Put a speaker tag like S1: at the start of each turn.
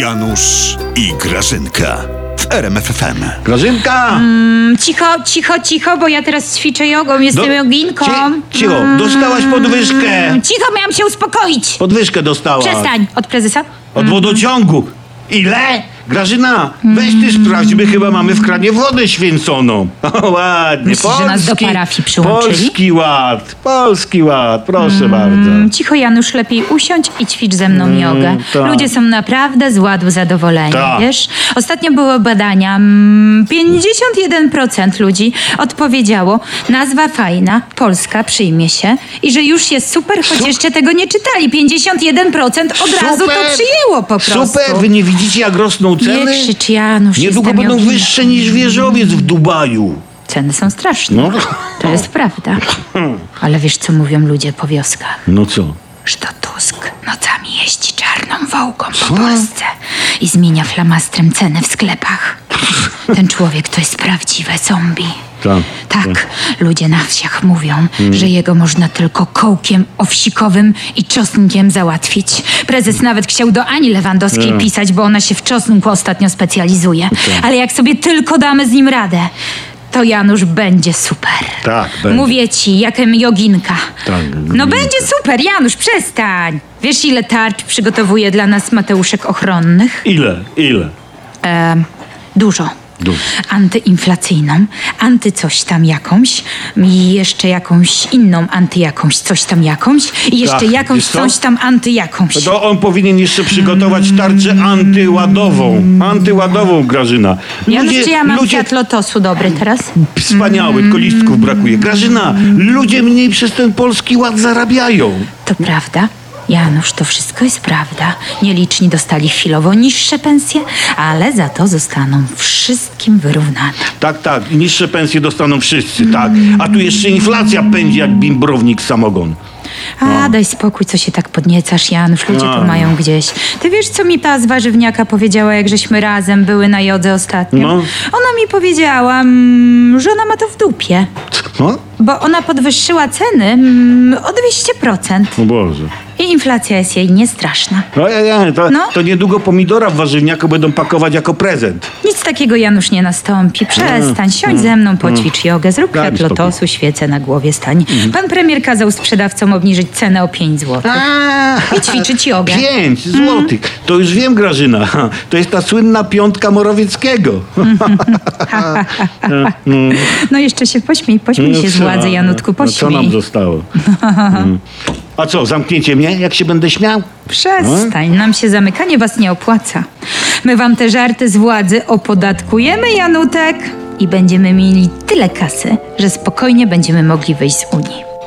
S1: Janusz i Grażynka w RMFFM.
S2: Grażynka!
S3: Mm, Cicho, cicho, cicho, bo ja teraz ćwiczę jogą, jestem
S2: Do-
S3: joginką. Mm.
S2: Ci- cicho, dostałaś podwyżkę.
S3: Cicho, miałam się uspokoić.
S2: Podwyżkę dostałaś.
S3: Przestań. Mm. Od prezesa?
S2: Od wodociągu. Ile? Grażyna, weź ty
S3: Mm.
S2: sprawdź, my chyba mamy w kranie wodę święconą. O, ładnie.
S3: Myślisz, że nas do parafii przyłączyli? Mm.
S2: Polski Ład, Polski Ład, proszę bardzo.
S3: Cicho, Janusz, lepiej usiądź i ćwicz ze mną jogę.
S2: tak.
S3: Ludzie są naprawdę z ładu zadowoleni,
S2: Tak.
S3: wiesz? Ostatnio były badania. mm, 51% ludzi odpowiedziało, nazwa fajna, Polska przyjmie się i że już jest super, choć jeszcze tego nie czytali. 51% od razu to przyjęło po prostu.
S2: Super, wy nie widzicie jak rosną
S3: Nie
S2: ceny?
S3: krzycz, Janusz.
S2: Niedługo
S3: jestem
S2: będą
S3: joginem.
S2: wyższe niż wieżowiec w Dubaju.
S3: Ceny są straszne.
S2: No.
S3: To jest prawda. Ale wiesz, co mówią ludzie po wioskach?
S2: No co?
S3: Że to Tusk nocami jeździ czarną wołgą po Polsce i zmienia flamastrem ceny w sklepach. Ten człowiek to jest prawdziwe zombie.
S2: Tak.
S3: Tak, ludzie na wsiach mówią, że jego można tylko kołkiem owsikowym i czosnkiem załatwić. Prezes nawet chciał do Ani Lewandowskiej
S2: Tak.
S3: pisać, bo ona się w czosnku ostatnio specjalizuje. Ale jak sobie tylko damy z nim radę, to Janusz będzie super.
S2: Tak, będzie.
S3: Mówię ci, jakem joginka.
S2: Tak,
S3: No
S2: joginka.
S3: będzie super, Janusz, przestań. Wiesz, ile tarcz przygotowuje dla nas Mateuszek ochronnych?
S2: Ile? Ile?
S3: Em, dużo.
S2: Dużo.
S3: Antyinflacyjną, anty coś tam jakąś, i jeszcze jakąś inną anty jakąś coś tam jakąś, i jeszcze
S2: Tak,
S3: jakąś
S2: wiesz co? No
S3: coś tam anty jakąś.
S2: To on powinien jeszcze przygotować tarczę antyładową. Antyładową, Grażyna.
S3: Janusz, czy ja mam Mm.
S2: ludzie-
S3: kwiat lotosu dobry teraz?
S2: Wspaniały, tylko listków brakuje. Grażyna, ludzie mniej przez ten polski ład zarabiają.
S3: To prawda. Janusz, to wszystko jest prawda. Nieliczni dostali chwilowo niższe pensje, ale za to zostaną wszystkim wyrównane.
S2: Tak, tak. I niższe pensje dostaną wszyscy, tak. A tu jeszcze inflacja pędzi jak bimbrownik samogon.
S3: A, daj spokój, co się tak podniecasz, Janusz. Ludzie
S2: No.
S3: to mają gdzieś. Ty wiesz, co mi ta z warzywniaka powiedziała, jak żeśmy razem były na jodze ostatnio?
S2: No.
S3: Ona mi powiedziała, mm, że ona ma to w dupie,
S2: No?
S3: bo ona podwyższyła ceny mm, o 200%.
S2: O Boże.
S3: I inflacja jest jej niestraszna.
S2: No, ja, ja, to,
S3: No.
S2: to niedługo pomidora w warzywniaku będą pakować jako prezent.
S3: Nic takiego Janusz nie nastąpi. Przestań, siądź ze mną, poćwicz jogę, zrób
S2: Mm, Daj mi
S3: kwiat
S2: spokój. Mhm.
S3: lotosu, świecę na głowie stań. Pan premier kazał sprzedawcom obniżyć cenę o 5 zł.
S2: Tak.
S3: I ćwiczyć jogę.
S2: Pięć
S3: Mm.
S2: złotych. To już wiem, Grażyna. Ha, To jest ta słynna piątka Morawieckiego.
S3: No jeszcze się pośmiej, pośmiej się z
S2: co,
S3: władzy,
S2: no,
S3: Janutku,
S2: no, co nam
S3: pośmiej.
S2: zostało? Mm. A co, zamknięcie mnie, jak się będę śmiał?
S3: Przestań, nam się zamykanie was nie opłaca. My wam te żarty z władzy opodatkujemy, Janutek. I będziemy mieli tyle kasy, że spokojnie będziemy mogli wyjść z Unii.